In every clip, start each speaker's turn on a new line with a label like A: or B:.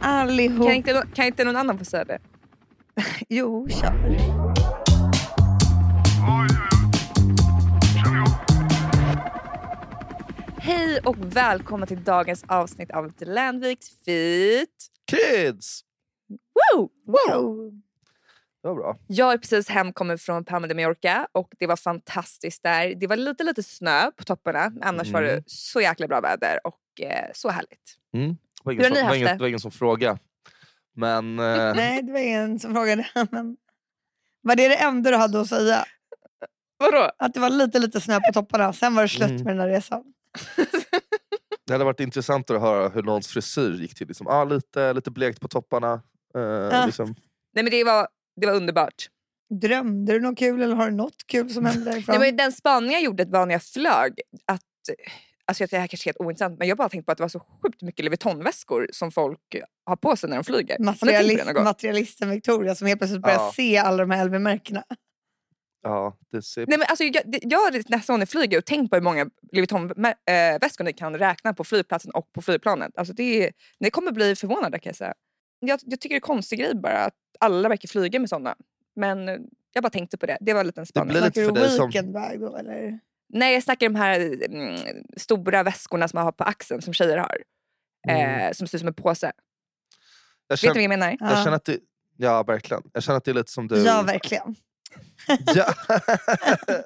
A: allihop.
B: Kan inte, kan inte någon annan få säga det?
A: Jo, kör.
B: Hej och välkomna till dagens avsnitt av Landviks Feet.
C: Kids!
B: Woo!
A: Wow.
C: Det var bra.
B: Jag är precis hemkommen från Palma de Mallorca och det var fantastiskt där. Det var lite, lite snö på topparna, men annars var det
C: Mm.
B: så jäkla bra väder och eh, så härligt.
C: Det var ingen,
B: Hur har ni
C: som,
B: haft
C: var ingen,
B: det?
C: det var ingen som frågade. Men eh,
A: Nej, det var ingen som frågade. Men... Var det det enda du hade att säga?
B: Vadå?
A: Att det var lite, lite snö på topparna. Sen var det slut
C: Mm.
A: med den här resan.
C: det hade varit intressant att höra hur någons frisyr gick till. Liksom, ah, lite, lite blekt på topparna. Eh,
B: Ah.
C: liksom.
B: Nej, men det var, det var underbart.
A: Drömde du något kul eller har du något kul som hände därifrån?
B: Nej, men den spaningen jag gjorde var när jag flög att Alltså jag- det här kanske är helt ointressant men jag bara tänkte på att det var så sjukt mycket Louis Vuitton-väskor som folk har på sig när de flyger. Har ni tänkt på det
A: Materialist,
B: någon gång?
A: materialisten Victoria som helt plötsligt börjar
C: Ja.
A: se alla de här LV-märkena.
C: Ja, det ser...
B: Nej, men alltså, jag, det- jag har nästa gång jag flyger och tänkt på hur många Louis Vuitton-väskor ni kan räkna på flygplatsen och på flygplanet. Alltså, det är, ni kommer bli förvånade kan jag säga. Jag, jag tycker det är en konstig grej bara att alla verkar flyga med sådana. Men eh, jag bara tänkte på det. Det var en liten spaning.
C: blir lite
A: Snackar du
C: för dig som-
A: weekendbag då eller?
B: Nej, jag snackar om de här mm, stora väskorna som man har på axeln som tjejer har. Eh, som ser ut som en påse.
C: jag,
B: Vet ni
C: Mm.
B: vad
C: känner,
B: jag menar?
A: Ja.
C: jag känner att det... Ja, verkligen. Jag känner att det är lite som du...
A: Ja, verkligen.
C: Ja.
A: Ja,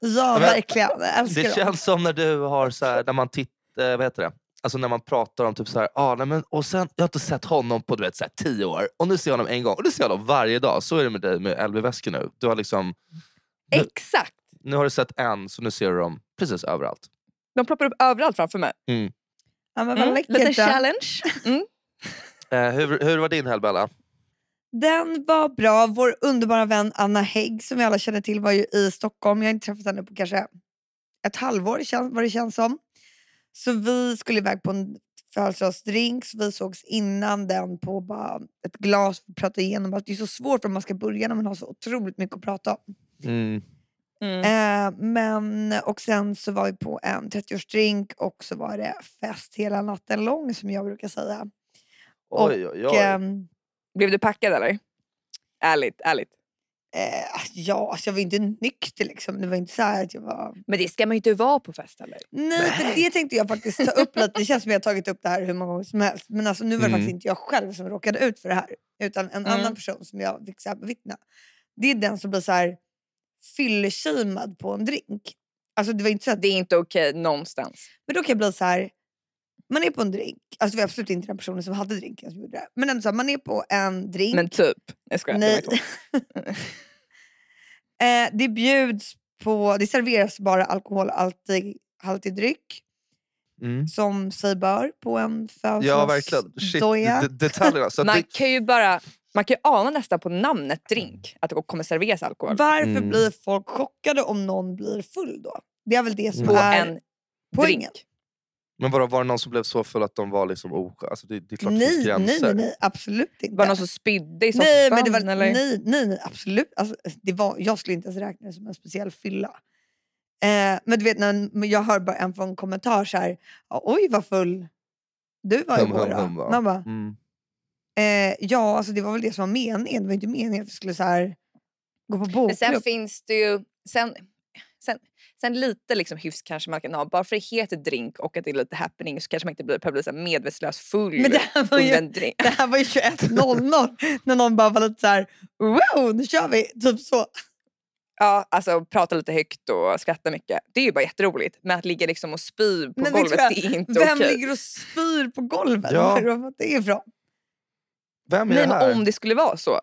C: Men-
A: verkligen. Jag älskar
C: Det
A: dem.
C: känns som när du har så här, när man tittar, vad heter det? Alltså när man pratar om typ så här, ah, nej, men, och sen, jag har inte sett honom på du vet, så här, tio år och nu ser jag honom en gång och nu ser jag honom varje dag. Så är det med dig med LV-väskor nu. Du har liksom, Nu-
B: Exakt!
C: nu har du sett en så nu ser du dem precis överallt.
B: De ploppar upp överallt framför mig.
A: Ja, men vad
B: Mm.
A: läckert
B: Liten
A: då.
B: challenge. Mm.
C: Eh, hur, hur var din helg Bella?
A: Den var bra. Vår underbara vän Anna Hägg som vi alla känner till var ju i Stockholm. Jag har inte träffat henne på kanske ett halvår kän- vad det känns som. Så vi skulle iväg på en födelsedagsdrink så vi sågs innan den på bara ett glas och pratade igenom allt. Det är så svårt om man ska börja när man har så otroligt mycket att prata om.
C: Mm.
B: Mm.
A: Eh, men, och sen så var vi på en 30-årsdrink och så var det fest hela natten lång som jag brukar säga.
C: Oj, oj,
A: Och,
C: oj.
A: ehm,
B: Blev du packad eller? Ärligt, ärligt.
A: Eh, alltså, ja, alltså jag var inte nykter liksom. Det var inte så här att jag var...
B: Men det ska man ju inte vara på fest heller.
A: Nej, för det tänkte jag faktiskt ta upp lite. Det känns som jag har tagit upp det här hur många gånger som helst. Men alltså, nu var det
C: Mm.
A: faktiskt inte jag själv som råkade ut för det här. Utan en
B: Mm.
A: annan person som jag fick så här bevittna. Det är den som blir så här fylleshamed på en drink. Alltså det var inte så att...
B: Det är inte okej någonstans.
A: Men då kan jag bli så här... Man är på en drink. Alltså det var absolut inte den personen som hade drinken som gjorde det. Men ändå så här, man är på en drink.
B: Men typ. Jag skojar. det var
A: Nej.
B: inte så.
A: Eh, det bjuds på, det serveras bara alkoholhaltig haltig dryck
C: Mm.
A: som sig bör på en
C: Ja, verkligen. Shit,
A: födelsedagsdoja.
C: d- d- detaljerna. Så att
B: Man
C: det,
B: kan ju bara... Man kan ju ana nästan på namnet drink att det kommer serveras alkohol.
A: Varför
C: Mm.
A: blir folk chockade om någon blir full då? Det är väl det som
C: Mm.
B: På
A: är
B: en
A: poängen.
B: drink.
C: men var, var det någon som blev så full att de var liksom osköna? Alltså det, det är klart det finns
A: Nej, nej,
C: gränser.
A: nej, nej, absolut inte.
B: Var det någon som spydde i soffan?
A: nej, men det var,
B: eller?
A: nej, nej, nej, absolut. Alltså, det var, jag skulle inte ens räkna det som en speciell fylla. Eh, men du vet, när en- jag hör bara en från kommentar så här, oj vad full du var
C: Hum,
A: igår
C: hum,
A: då."
C: hum, va?
A: Man bara,
C: Mm.
A: Eh, ja, alltså det var väl det som var meningen. Det var inte meningen att vi skulle så här, gå på
B: Men sen
A: bokklubb.
B: finns det ju... Sen, sen, sen lite liksom hyfs kanske man kan ha. Bara för det heter drink och att det är lite happening så kanske man inte blir per blir så här medvetslös full
A: Men det här var
B: under
A: ju,
B: en drink.
A: det här var ju 21.00 när någon bara var lite så här, wow, nu kör vi! Typ så.
B: Ja, alltså prata lite högt och skratta mycket. Det är ju bara jätteroligt. Men att ligga liksom och spy på
A: Men
B: golvet,
A: Victoria,
B: det är inte
A: Vem
B: okej.
A: ligger och spyr på golvet?
C: Ja.
A: Var har du fått det ifrån?
C: Vem är
B: Nej,
C: det
B: men
C: här?
B: om det skulle vara så.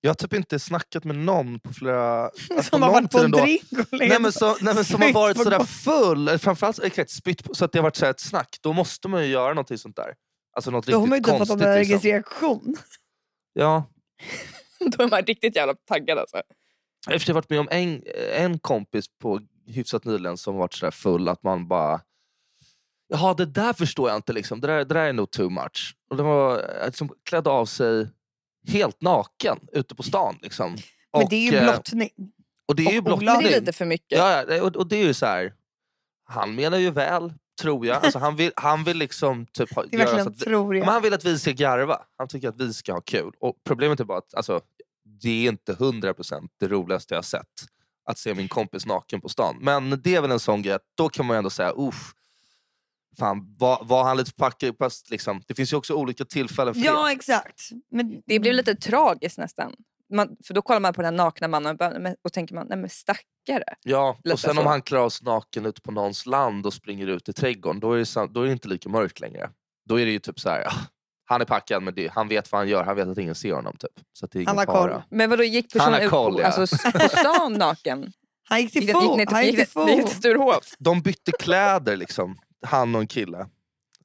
C: Jag har typ inte snackat med någon på flera... alltså
A: Som har
C: någon
A: varit på en
C: tid ändå.
A: drink liksom. och
C: Nej
A: legat
C: men, så, nej, men som har
A: spytt
C: varit
A: på
C: sådär
A: golvet.
C: full, eller framförallt exakt, spytt på, så att det har varit sådär ett snack, då måste man ju göra någonting sånt där. Alltså något
A: Då har man ju
C: riktigt
A: inte fått
C: konstigt.
A: någon
C: liksom.
A: reaktion.
C: Ja.
B: Då är man riktigt jävla taggad alltså.
C: Jag har i och för sig varit med om en, en kompis på hyfsat nyligen som varit sådär full att man bara Jaha, det där förstår jag inte. Liksom. Det, där, det där är nog too much. Och den var eh, liksom, klädde av sig helt naken ute på stan. Liksom.
A: Men
C: och,
A: det är ju
C: eh,
A: blottning.
C: Och det är ju
A: och olagligt.
B: Men det är
C: blottning.
B: lite för mycket.
C: Ja, ja, och, och det är ju så här, han menar ju väl, tror jag. Alltså, han, vill, han vill liksom typ ha,
A: Det är
C: göra så
A: verkligen
C: att vi,
A: tror
C: men
A: jag.
C: han vill att vi ska garva. Han tycker att vi ska ha kul. Och Problemet är bara att alltså, det är inte 100% det roligaste jag har sett. Att se min kompis naken på stan. Men det är väl en sån grej att då kan man ju ändå säga uff. Fan, var, var han lite packad? Fast liksom, det finns ju också olika tillfällen för det.
A: Ja exakt. Men
B: Det blev lite tragiskt nästan. Man, för då kollar man på den här nakna mannen och, bara, men- och tänker man, nej men stackare.
C: Ja,
B: Lite
C: och sen om
A: Alltså-
B: så.
C: han klarar sig naken ute på någons land och springer ut i trädgården, då är det, sam- då är det inte lika mörkt längre. Då är det ju typ så här, "Ah, han är packad men det, han vet vad han gör, han vet att ingen ser honom. Typ. Så att det är ingen
A: Han har koll.
C: fara.
B: Men vadå, gick
C: Han har
B: personen ut
C: koll,
B: på,
C: ja.
B: alltså, s- på stan naken?
A: Han gick till
B: Gick det- gick
A: fot.
B: ni till-
A: Han gick
B: gick
A: till
B: det- ni gick
A: fot.
B: till Sturehof
C: De bytte kläder, liksom. han och en kille.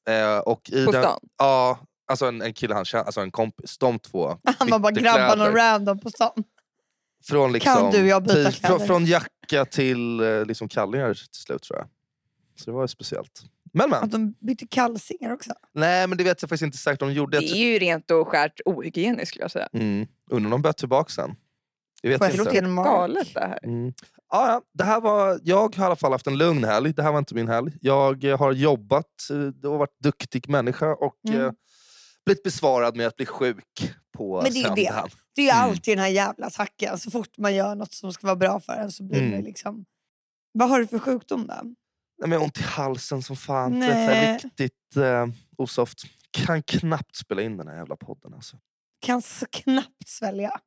C: Eh, och i
B: på
C: den,
B: stan?
C: ja, alltså en, en kille han känner, alltså en kompis. De två.
A: Han var bara
C: bytte
A: grabbar
C: kläder.
A: någon random på stan.
C: Från, liksom,
A: du och jag byta
C: till-
A: kläder?
C: Från, från jacka till eh, liksom kallingar till slut tror jag. Så det var ju speciellt. Men men,
A: Att de bytte kalsingar också.
C: nej men det vet jag faktiskt inte säkert om de gjorde.
B: Det
C: Jag
B: är ju rent och skärt ohygieniskt skulle jag säga.
C: Mm. Undrar om de börjat tillbaka sen. Det vet
A: Får
C: jag
A: jag slå
C: inte.
A: till Mark?
B: Galet det här.
C: Mm. Ja, ja. Det här var, jag har i alla fall haft en lugn helg. Det här var inte min helg. Jag eh, har jobbat eh, och varit duktig människa och
A: Mm.
C: eh, blivit besvarad med att bli sjuk på
A: Men det är ju det.
C: söndagen.
A: Det är ju
C: Mm.
A: alltid den här jävla tacken. Så fort man gör något som ska vara bra för en så blir det
C: Mm.
A: liksom... Vad har du för sjukdom då?
C: Nej, men jag har ont i halsen som fan. Det
A: Nej.
C: är riktigt eh, osoft. Kan knappt spela in den här jävla podden. Alltså.
A: Kan så knappt svälja.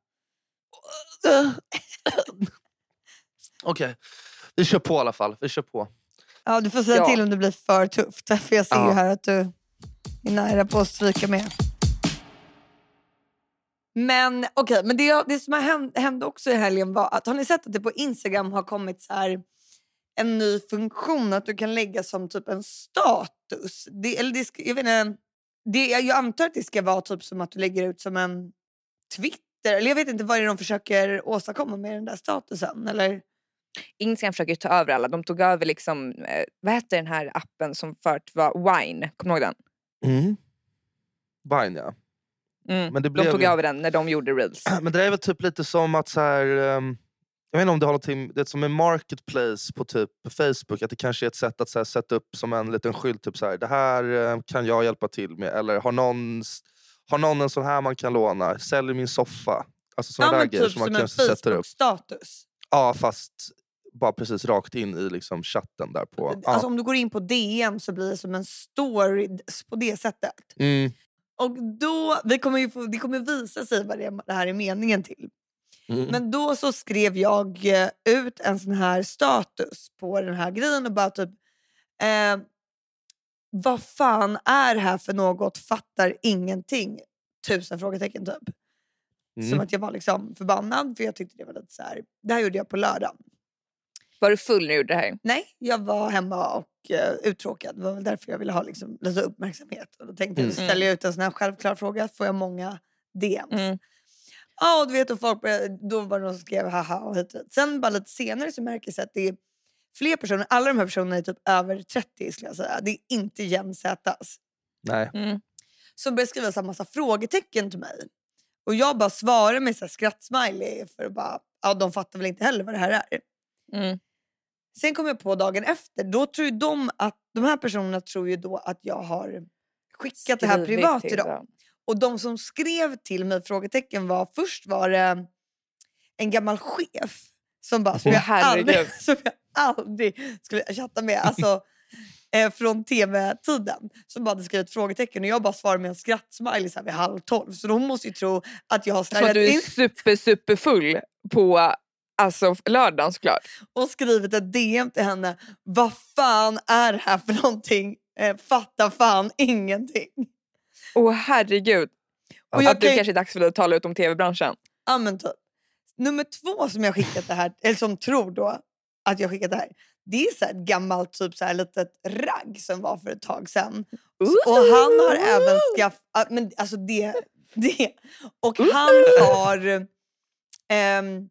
C: Okej, vi kör på i alla fall. Vi kör på.
A: Ja, du får säga
B: Ja.
A: till om det blir för tufft. För jag ser ju
C: Ja.
A: här att du är nära på att stryka med. Men okej, men det, jag- det som har hänt, hände också i helgen var att har ni sett att det på Instagram har kommit så här en ny funktion att du kan lägga som typ en status. Det, eller det, ska- jag, vet inte, det, jag antar att det ska vara typ som att du lägger ut som en Twitter. Eller jag vet inte vad det är de försöker åstadkomma med den där statusen. Eller?
B: Instagram försöker ju ta över alla. De tog över liksom, eh, vad heter den här appen som förut var Wine? Kommer du ihåg den?
C: Mm. Vine, ja.
B: Mm.
C: Men
B: De
C: det blev
B: tog
C: ju-
B: över den när de gjorde reels.
C: Men det där är väl typ lite som att så här, ehm, jag vet inte om det har någonting, det är som en marketplace på typ Facebook, att det kanske är ett sätt att så här, sätta upp som en liten skylt, typ så här, det här eh, kan jag hjälpa till med, eller har någon, s- har någon en sån här man kan låna, säljer min soffa. Alltså såna
A: Ja,
C: där
A: men
C: grejer
A: typ
C: som man
A: som en
C: kanske sätter upp.
A: Facebook-status.
C: Ja, fast bara precis rakt in i liksom chatten där på. Ja.
A: Alltså om du går in på DM så blir det som en story d- på det sättet.
C: mm.
A: Och då, vi kommer ju få, det kommer visa sig vad det, det här är meningen till.
C: Mm.
A: Men då så skrev jag eh, ut en sån här status på den här grejen och bara typ eh, Vad fan är det här för något? Fattar ingenting. Tusen frågetecken typ. Som
C: Mm.
A: att jag var liksom förbannad för jag tyckte det var lite så här. Det här gjorde jag på lördagen.
B: Var du full när du gjorde det här?
A: Nej, jag var hemma och eh, uttråkad. Det var väl därför jag ville ha liksom, lite uppmärksamhet. Och då tänkte jag,
C: Mm.
A: ställer jag ut en sån här självklar fråga får jag många DMs.
B: Mm.
A: Ja, och du vet, och folk började, då var det någon som skrev haha och hit och dit. Sen bara lite senare så märker jag att det är fler personer. Alla de här personerna är typ över 30 skulle jag säga. Det är inte jämsätas.
C: Nej.
B: Mm.
A: Som började skriva så här massa frågetecken till mig. Och jag bara svarar med så här skrattsmiley för att bara, ja de fattar väl inte heller vad det här är.
B: Mm.
A: Sen kom jag på dagen efter, då tror ju de att de här personerna tror ju då att jag har skickat det här
B: Skrivit
A: privat
B: till
A: till dem. Och de som skrev till mig frågetecken var först var det en gammal chef som bara som,
B: Åh,
A: jag, aldrig,
B: herregud.
A: som jag aldrig skulle chatta med. Alltså, eh, från tv-tiden som bara hade skrivit frågetecken och jag bara svarade med en skrattsmiley så här vid halv tolv. Så de måste ju tro att jag har
B: Som att
A: snärjat
B: Alltså, du är
A: in
B: super, super full på alltså, lördagen såklart.
A: och skrivit ett DM till henne. Vad fan är det här för någonting? Eh, fatta fan ingenting.
B: Åh herregud.
A: Och jag
B: att du
A: kan ju-
B: kanske är dags för dig att tala ut om tv-branschen.
A: Ja, men typ. Nummer två som jag skickat det här, eller som tror då att jag skickat det här. Det är så här ett gammalt typ så här litet ragg som var för ett tag sedan. Och han har även skaffat... Men alltså det, det. Och han har ehm,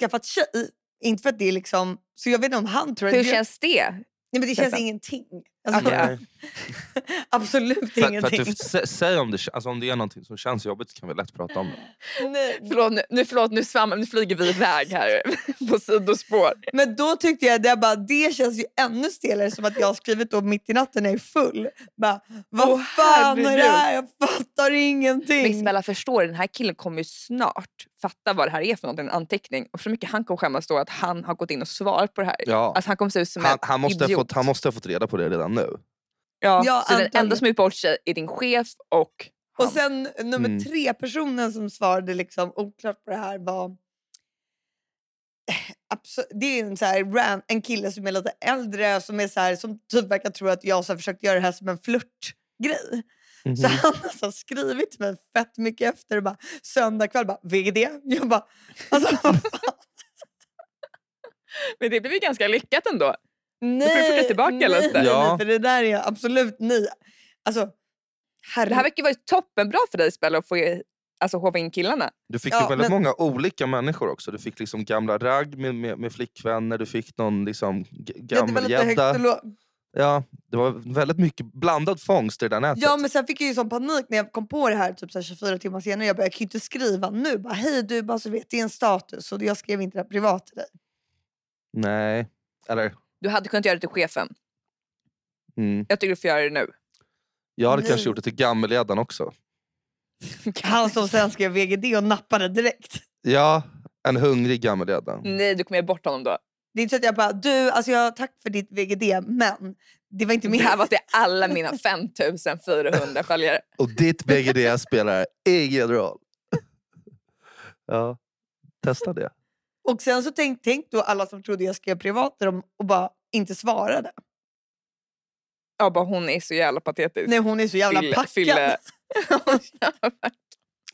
A: skaffat tjej. Inte för att det är liksom... Så jag vet inte om han tror att...
B: Hur
A: det-
B: känns det?
A: Nej, men det känns
B: Detta.
A: ingenting. Alltså,
B: Okej.
C: Nej.
A: Absolut
C: För, för att
A: ingenting.
C: du, sä, säg om det, k- alltså om det är någonting som känns jobbigt så kan vi lätt prata om det.
A: Nej.
B: Förlåt, nu- nu, förlåt, nu, svam, nu flyger vi iväg här på sidospår.
A: Men då tyckte jag, det, jag bara, det känns ju ännu stelare som att jag har skrivit då mitt i natten när jag är full. Bara, vad
B: Åh,
A: fan är det
B: herregud.
A: här? Jag fattar
B: Men
A: ingenting.
B: Isabella förstår, den här killen kommer ju snart fatta vad det här är för någonting, en anteckning. Och så mycket han kommer skämmas då att han har gått in och svarat på det här.
C: Ja.
B: Alltså han kommer se ut som
C: han,
B: en
C: han, måste ha
B: idiot.
C: fått, han måste ha fått reda på det redan nu.
B: Ja,
A: Ja,
B: så den
A: antagligen.
B: enda som har gjort bort sig är din chef och han.
A: Och sen nummer
C: Mm.
A: tre personen som svarade liksom oklart på det här var... Eh, abso- Det är en, så här, ran- en kille som är lite äldre som, är så här, som typ verkar tro att jag så här, försökt göra det här som en flörtgrej. Så han har så här skrivit till mig fett mycket efter och bara söndag kväll bara VD. Jag bara alltså vad fan?
B: Men det blev ju ganska lyckat ändå.
A: nej.
B: får du flytta tillbaka
A: nej,
B: lite.
A: nej,
C: Ja.
A: nej, för det där är absolut nej. Alltså
B: Det här verkar ju vara toppenbra för dig Isabella att få i- alltså, hova in killarna.
C: Du fick
A: Ja,
C: ju väldigt
A: men-
C: många olika människor också. Du fick liksom gamla ragg med, med, med flickvänner, du fick någon liksom g-
A: Ja, det var lite högt
C: gammelgädda.
A: och lågt.
C: Ja, det var väldigt mycket blandad fångst i det där nätet.
A: Ja men sen fick jag ju sån panik när jag kom på det här typ så här 24 timmar senare. Jag bara, jag kan ju inte skriva nu. Bara, Hej du, bara så du vet, det är en status och jag skrev inte det här privat till dig.
C: Nej, eller...
B: Du hade kunnat göra det till chefen.
C: Mm.
B: Jag tycker du får göra det nu.
C: Jag hade
A: Nej.
C: kanske gjort det till gammelgäddan också.
A: Han som sen skrev VGD och nappade direkt.
C: Ja, en hungrig gammelgädda.
B: Nej, du kommer ge bort honom då.
A: Det är inte så att jag bara, du, alltså jag, tack för ditt VGD men det var inte
B: Det
A: min.
B: här var till alla mina 5400 följare.
C: Och ditt BGD spelar egen roll. Ja, testa det.
A: Och sen så tänk, tänk då alla som trodde jag skrev privat till dem och bara inte svarade.
B: Ja, bara hon är så jävla patetisk.
A: Nej hon är så jävla
B: Fylle-
A: packad.
B: fylle.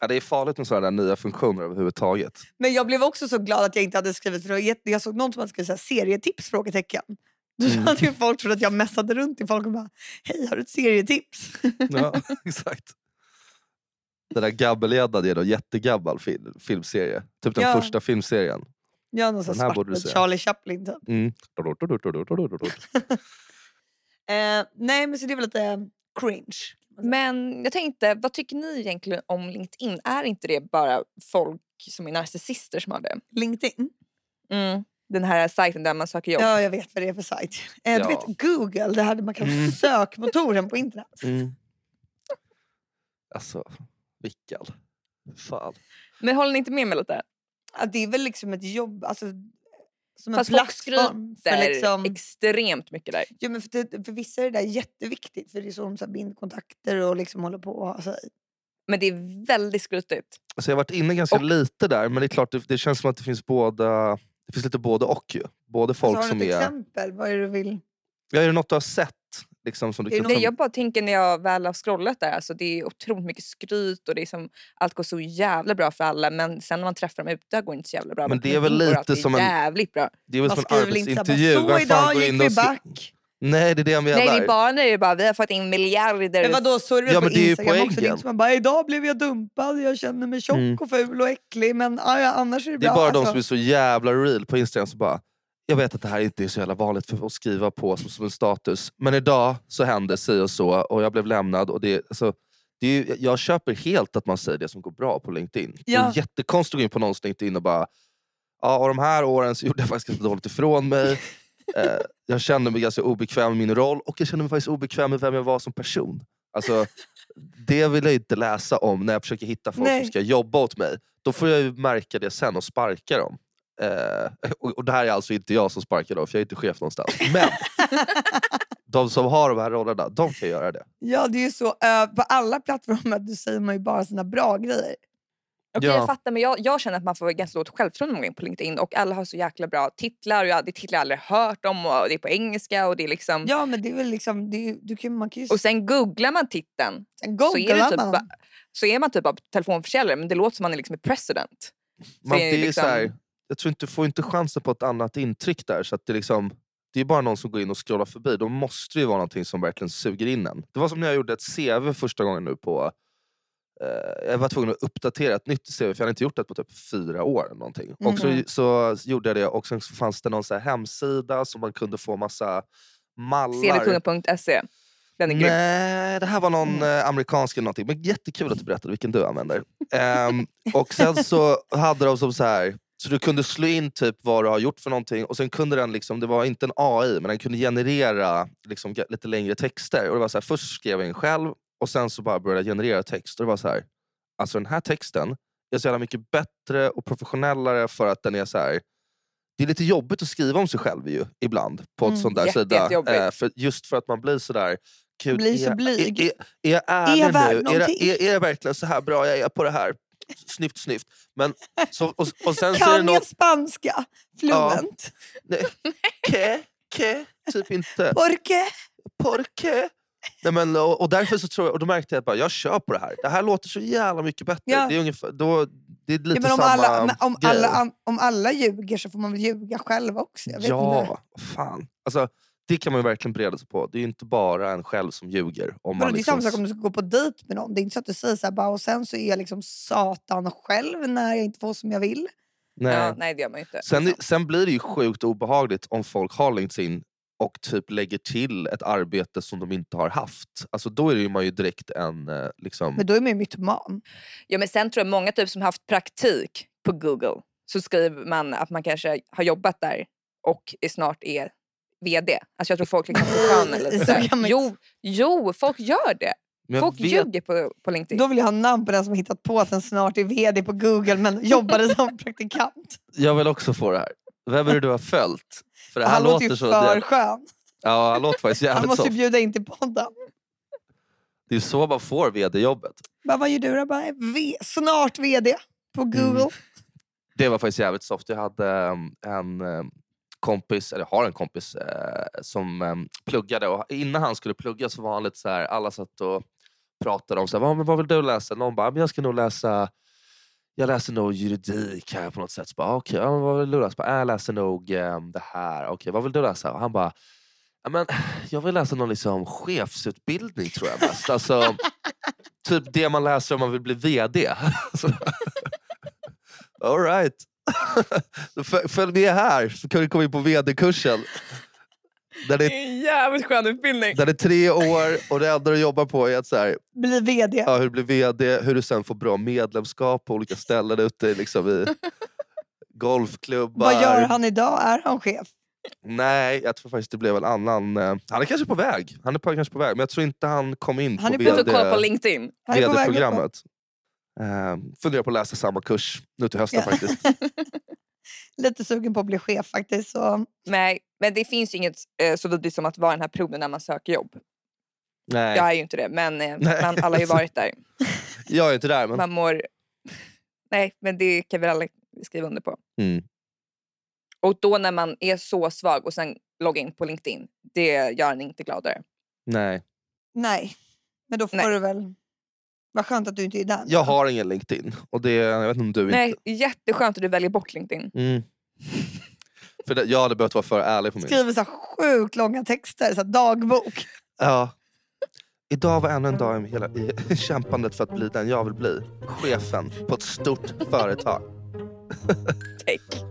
C: Ja, det är farligt med sådana där nya funktioner överhuvudtaget.
A: Men jag blev också så glad att jag inte hade skrivit för det var jätte- jag såg någon som hade skrivit så här, serietips? Frågetecken. Då
C: Mm.
A: hade ju folk trott att jag mässade runt till folk och bara Hej, har du ett serietips?
C: Ja, exakt. Den där Gabbelgäddan är en jättegammal fil- filmserie. Typ den
A: Ja.
C: första filmserien.
A: Jag har någon sån
C: Den här borde du
A: svart
C: se.
A: Charlie Chaplin typ.
C: Mm.
A: Eh, nej, men så det var lite eh, cringe.
B: Men jag tänkte, vad tycker ni egentligen om LinkedIn? Är inte det bara folk som är narcissister som har det? Mm.
A: LinkedIn.
B: Den här sajten där man söker jobb.
A: Ja, jag vet vad det är för sajt. Eh, Du
C: Ja.
A: vet Google, det här där man kan
C: Mm.
A: sökmotoren på internet.
C: Mm. Alltså, Vickan. Fan.
B: Men håller ni inte med mig lite?
A: Ja, det är väl liksom ett jobb, alltså, som
B: Fast
A: en
B: folk
A: plattform.
B: Det
A: För,
B: är
A: liksom,
B: extremt mycket där.
A: ja, men för, det- för vissa är det där jätteviktigt, för det är så de så här, binder kontakter och liksom håller på. och ha sig.
B: Men det är väldigt skrutigt.
C: Alltså jag har varit inne ganska
B: Och-
C: lite där, men det är klart det, det känns som att det finns båda det finns lite både och ju. Både folk
A: alltså, har
C: som
A: du något
C: är...
A: exempel? Vad är det du vill?
C: Ja, är det något du har sett? Liksom, som du
A: Är det
C: kan
B: Eh, Nej,
C: ta-
B: jag bara tänker när jag väl har scrollat där, alltså det är otroligt mycket skryt och det är som, allt går så jävla bra för alla men sen när man träffar dem ute går det inte så jävla bra.
C: Men
B: Men
C: det är
B: LinkedIn
C: väl
B: går
C: lite
B: alltid
C: som en-
B: jävligt bra.
C: Det är väl
A: Man
C: som en
A: skriver väl inte så här,
C: arbetsintervju.
A: bara, så
C: Vem fan
A: idag
C: går
A: gick
C: in och
A: vi
C: skri-
A: back.
C: Nej, det är det jag menar.
B: Nej, det är bara när det är bara, vi har fått in miljarder.
A: Men vadå, så är det
C: Ja,
A: väl på
C: men det är ju
A: Instagram också? Det är
C: poängen.
A: inte som man bara, idag blev jag dumpad, jag känner mig tjock
C: Mm.
A: och ful och äcklig men ah, ja, annars är det
C: Det är
A: bra.
C: bara de
A: alltså.
C: som är så jävla real på Instagram som bara jag vet att det här inte är så jävla vanligt för att skriva på som, som en status. Men idag så hände si och så och jag blev lämnad. Och det, alltså, det är ju, jag köper helt att man säger det som går bra på LinkedIn. Det
A: Ja.
C: är jättekonstigt att gå in på någons LinkedIn och bara ja, och de här åren så gjorde jag faktiskt ganska dåligt ifrån mig. Eh, jag kände mig ganska obekväm i min roll och jag kände mig faktiskt obekväm med vem jag var som person. Alltså, det vill jag inte läsa om när jag försöker hitta folk
A: Nej.
C: som ska jobba åt mig. Då får jag ju märka det sen och sparka dem. Eh, och, och det här är alltså inte jag som sparkar dem, för jag är inte chef någonstans. Men de som har de här rollerna, de kan göra det.
A: Ja, det är ju så. eh, på alla plattformar du säger man ju bara sina bra grejer.
B: Okej,
C: Ja.
B: jag fattar, men jag, jag känner att man får ganska lågt självförtroende när man går in på LinkedIn och alla har så jäkla bra titlar och jag, det är titlar jag aldrig hört om och det är på engelska och det är liksom...
C: Mm.
A: Ja, men det är väl liksom, det är, du kan, man kan ju
B: Och sen googlar man titeln så är, det
A: googla
B: typ,
A: man.
B: ba- så är man typ av telefonförsäljare men det låter som man är liksom är president.
C: Man,
B: Det är
C: det är ju
B: liksom-
C: så här, jag tror inte du får inte chansen på ett annat intryck där. Så att det, är liksom, det är bara någon som går in och scrollar förbi. Då måste det ju vara någonting som verkligen suger in en. Det var som när jag gjorde ett CV första gången nu på... Eh, jag var tvungen att uppdatera ett nytt CV för jag hade inte gjort det på typ fyra år. Eller någonting. Och så,
A: Mhm.
C: så gjorde jag det och sen så fanns det någon så här hemsida som man kunde få massa mallar.
B: Selekungen.se. E. Den är grym.
C: Nej, det här var någon
B: Mm.
C: eh, amerikansk eller någonting. Men jättekul att du berättade vilken du använder. Ehm, och sen så hade de som så här... Så du kunde slå in typ vad du har gjort för någonting och sen kunde den, liksom, det var inte en AI, men den kunde generera liksom, ga- lite längre texter. Och det var så här, först skrev jag in själv och sen så bara började jag generera text. Och det var så här, alltså den här texten är så jävla mycket bättre och professionellare för att den är så här. Det är lite jobbigt att skriva om sig själv ju, ibland på ett
A: Mm,
C: sånt där
B: jätte-
C: sida.
B: jättejobbigt.
C: Eh, för, just för att man blir så där Gud,
A: Blir så
C: är,
A: blyg.
C: Är, är, är jag ärlig
A: jag värd
C: nu? Är, jag-
A: någonting?
C: är, är jag verkligen så här bra jag är på det här? Snyft, snyft. Men, så, och, och sen så är det
A: Kan jag
C: något...
A: spanska fluent?
C: Ke, ke, typ inte.
A: Porque?
C: Porke. Nej, men, och, och därför så tror jag, och då märkte jag att bara, jag kör på det här. Det här låter så jävla mycket bättre.
A: Ja.
C: Det, är ungefär, då, det är lite
A: Ja, men om,
C: samma
A: alla, men om,
C: grej.
A: alla, an- om alla ljuger så får man väl ljuga själv också? Jag vet inte.
C: Ja, fan. Alltså, det kan man ju verkligen bereda sig på. Det är ju inte bara en själv som ljuger. Om
A: Vadå,
C: man
A: Det är
C: liksom,
A: samma sak om du ska gå på dejt med någon. Det är inte så att du säger så här, bara, och sen så är jag liksom satan själv när jag inte får som jag vill.
C: nej.
B: Ja, nej, det gör man ju inte.
C: Sen,
A: Alltså
C: sen blir det ju sjukt obehagligt om folk har LinkedIn och typ lägger till ett arbete som de inte har haft. Alltså då är det ju man ju direkt en... eh, Liksom,
A: Men då är man ju mytoman.
B: Ja, men sen tror jag många typ som haft praktik på Google så skriver man att man kanske har jobbat där och är snart är VD. Alltså jag tror folk liksom får sköna lite.
A: Så
B: där.
A: kan man inte-
B: Jo, jo, folk gör det.
C: men jag
B: Folk ljuger på, på LinkedIn.
A: Då vill jag ha namn på den som hittat på att den snart är vd på Google men jobbade som praktikant.
C: jag vill också få det här. Vem är det du har följt? För det här
A: han låter
C: låter
A: ju
C: så...
A: för
C: jävla-
A: skön.
C: Ja, han låter faktiskt
A: Han
C: jävligt
A: måste ju
C: soft.
A: bjuda in till podden.
C: Det är ju så man får vd-jobbet.
A: Bara, vad gör du då? Bara, v- snart vd på Google.
C: Mm. Det var faktiskt jävligt soft. Jag hade ehm, en ehm, kompis, eller har en kompis, eh, som ehm, pluggade. Och innan han skulle plugga så var han lite så här, alla satt och pratade om så här, vad, men vad vill du läsa? Någon bara, "Men jag ska nog läsa jag läser nog juridik här på något sätt. Så bara, "Ah, okej, ja, men vad vill du läsa? Bara, "Äh, Jag läser nog ehm, det här. Okej, vad vill du läsa? Och han bara, "Ja, men, jag vill läsa någon liksom chefsutbildning tror jag mest. Alltså, typ det man läser om man vill bli VD. Så- All right. Då föl- Följ med här så kan du komma in på vd-kursen. Där det, är-
B: en jävligt skön utbildning.
C: där det är tre år och det enda du jobbar på är att så här,
A: Bli vd.
C: ja, hur du blir vd, hur du sen får bra medlemskap på olika ställen ute liksom i golfklubbar.
A: Vad gör han idag? Är han chef?
C: Nej, jag tror faktiskt det blev en annan... eh, Han är kanske på väg. Han är på, kanske på väg, men jag tror inte han kom in
A: Han
C: på
A: är på-
B: Du får kolla på
C: vd
B: LinkedIn.
A: Han är på väg uppåt.
C: vd-programmet. Eh, funderar på att läsa samma kurs nu till hösten
A: Ja.
C: faktiskt.
A: Lite sugen på att bli chef faktiskt. Så.
B: Nej, men det finns ju inget eh, så vidrigt som att vara i den här proven när man söker jobb.
C: Nej,
B: Jag är ju inte det, men eh,
C: Nej.
B: man, alla har ju varit där.
C: jag är inte där. Men...
B: Man mår... Nej, men det kan väl alla skriva under på.
C: Mm.
B: Och då när man är så svag och sen logga in på LinkedIn, det gör en inte gladare.
C: Nej.
A: Nej, men då får
B: Nej.
A: du väl... Vad skönt att du inte är där.
C: Jag har ingen LinkedIn. Och det, jag vet inte om du
B: Nej,
C: inte...
B: jätteskönt att du väljer bort LinkedIn.
C: Mm. för det, jag hade behövt vara för ärlig på min.
A: Skriver så här sjukt långa texter, så här dagbok.
C: Ja. Idag var ännu en dag i, hela, i kämpandet för att bli den jag vill bli. Chefen på ett stort företag.
B: Take.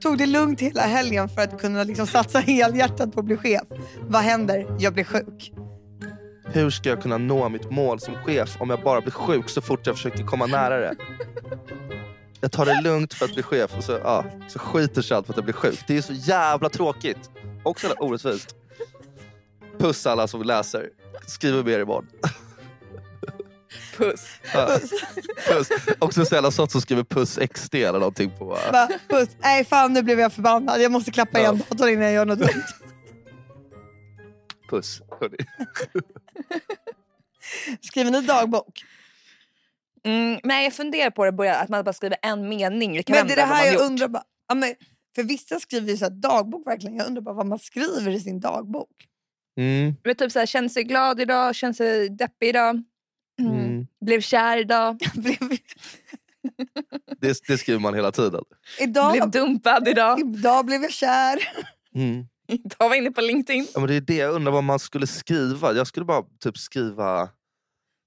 A: Tog det lugnt hela helgen för att kunna liksom satsa helhjärtat på att bli chef. Vad händer? Jag blir sjuk.
C: Hur ska jag kunna nå mitt mål som chef om jag bara blir sjuk så fort jag försöker komma nära det? Jag tar det lugnt för att bli chef och så, ja, så skiter sig allt för att jag blir sjuk. Det är så jävla tråkigt. Och så jävla orättvist. Puss alla som läser. Skriver med er imorgon.
B: Puss.
C: Ja, puss. Också så jävla sånt som skriver puss XD eller någonting på... äh,
A: Bara, puss. Nej, fan nu blev jag förbannad. Jag måste klappa igen datorn innan jag gör något dumt.
C: Puss. hörni.
A: Skriver ni dagbok?
B: Mm, nej, jag funderar på det börja, att man bara skriver en mening i
A: Men
B: kalendern.
A: det är det
B: vad
A: här
B: man
A: jag
B: gjort.
A: undrar. Bara, ja, men, för vissa skriver ju så här dagbok verkligen. Jag undrar bara vad man skriver i sin dagbok.
C: Mm,
B: Men typ så här, känner sig glad idag, känner sig deppig idag. Mm.
C: mm.
B: Blev kär idag,
A: Blev,
C: Det, det skriver man hela tiden.
A: idag,
B: blev dumpad idag.
A: idag blev jag kär.
C: Mm.
B: Idag var jag inne på LinkedIn.
C: Ja, men det är det jag undrar vad man skulle skriva. Jag skulle bara typ skriva...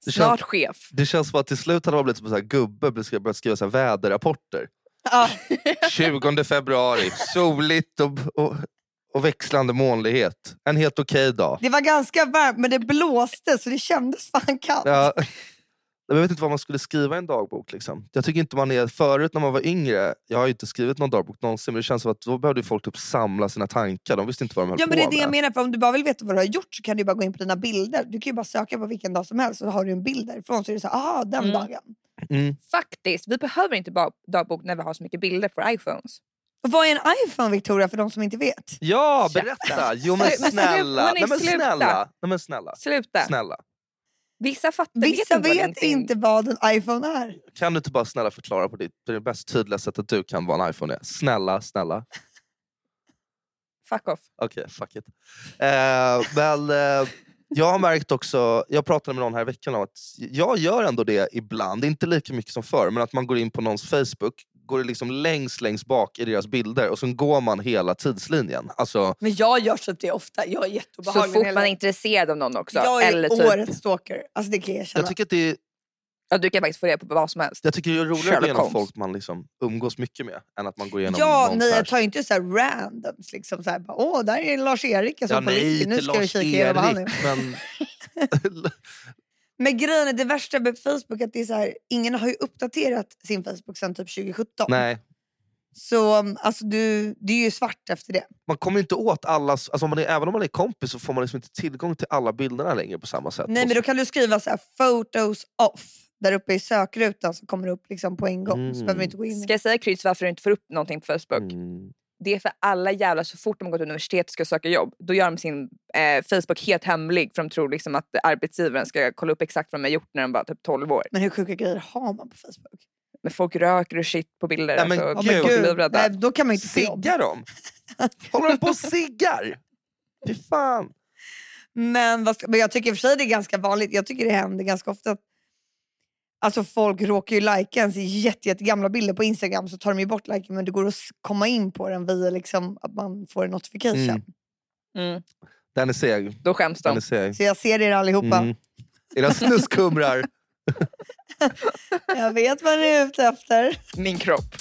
C: Det känns-
B: Snart chef.
C: Det känns som att till slut hade man blivit som en sån här gubbe och börjat skriva så här väderrapporter.
A: Ja.
C: 20 februari, soligt och, och, och växlande molnighet. En helt okej dag.
A: Det var ganska varmt men det blåste så det kändes fan kallt.
C: Ja. Jag vet inte vad man skulle skriva i en dagbok. Liksom. Jag tycker inte man är... Förut när man var yngre, jag har ju inte skrivit någon dagbok någonsin, men det känns som att då behövde ju folk typ samla sina tankar. De visste inte vad de höll
A: Ja,
C: på
A: men det är det jag
C: med.
A: menar. För om du bara vill veta vad du har gjort så kan du bara gå in på dina bilder. Du kan ju bara söka på vilken dag som helst och har du en bild därifrån så är det så här, aha, den
B: Mm.
A: dagen.
C: Mm.
B: Faktiskt, vi behöver inte ba- dagbok när vi har så mycket bilder på våra iPhones.
A: Och vad är en iPhone Victoria för de som inte vet?
C: Ja, berätta! Jo men
B: Men sluta,
C: snälla!
B: hörni,
C: Nej, men
B: sluta.
C: snälla! Nej, men snälla.
B: Sluta!
C: snälla.
B: Vissa fattar
A: Vissa
B: vet,
A: vet inte vad en iPhone är.
C: Kan du inte bara snälla förklara på ditt, på det bäst tydliga sättet du kan vad en iPhone är? Snälla, snälla.
B: Fuck off.
C: Okej, fuck it. Eh, men, eh, jag har märkt också, jag pratade med någon här i veckan om att jag gör ändå det ibland, inte lika mycket som förr, men att man går in på någons Facebook, går det liksom längst längst bak i deras bilder och sen går man hela tidslinjen. Alltså,
A: Men jag gör så det ofta. Jag är
B: Så
A: jätteobehaglig.
B: fort man är intresserad av någon också.
A: jag är
B: eller typ,
A: årets stalker. Alltså det kan jag erkänna.
C: jag, tycker att det är,
B: ja, du kan faktiskt få reda på vad som helst.
C: jag tycker det är roligare att
B: Sherlock
C: gå igenom
B: Holmes.
C: folk man liksom umgås mycket med än att man går igenom
A: Ja,
C: någon
A: nej,
C: så här-
A: jag tar ju inte så här randoms. Liksom, så här, bara, Åh, där är Lars-Erik. Jag
C: Ja,
A: såg på
C: nej,
A: LinkedIn. Nu
C: inte
A: ska jag kika igenom vad han är.
C: Lars-Erik, men...
A: Men grejen är det värsta med Facebook att det är så här, ingen har ju uppdaterat sin Facebook sedan typ 2017.
C: nej.
A: Så um, alltså, du, det är ju svart efter det.
C: Man kommer ju inte åt alla, alltså om man är, även om man är kompis så får man liksom inte tillgång till alla bilderna längre på samma sätt.
A: Nej
C: Och
A: men
C: så-
A: då kan du skriva så här, photos off. Där uppe i sökrutan så kommer det upp liksom på en gång. Så
C: Mm.
A: behöver vi inte gå in i
B: Ska jag säga Kryds varför du inte får upp någonting på Facebook?
C: Mm.
B: Det är för alla jävla så fort de har gått universitet och ska söka jobb, då gör de sin eh, Facebook helt hemlig för de tror liksom att arbetsgivaren ska kolla upp exakt vad de har gjort när de var typ 12 år.
A: Men hur sjuka grejer har man på Facebook?
B: Men folk röker och shit på bilder.
C: Nej, men
B: alltså,
A: Ja,
B: folk
A: men
C: Gud.
B: blir
A: gud,
B: livrädda.
A: nej, då kan man ju inte få jobb.
C: Siggar de? Håller de på och siggar? Fy fan.
A: Men, vad ska, men jag tycker i och för sig det är ganska vanligt. Jag tycker det händer ganska ofta att alltså folk råkar ju lajka ens jätte, jätte gamla bilder på Instagram så tar de ju bort liken men det går att s- komma in på den via liksom, att man får en notification.
C: Mm.
B: Mm,
C: Den är seg.
B: då skäms
C: Den
B: de.
C: är seg.
A: Så jag ser er allihopa.
C: Mm. Era snuskumrar.
A: Jag vet vad ni är ute efter.
B: Min kropp.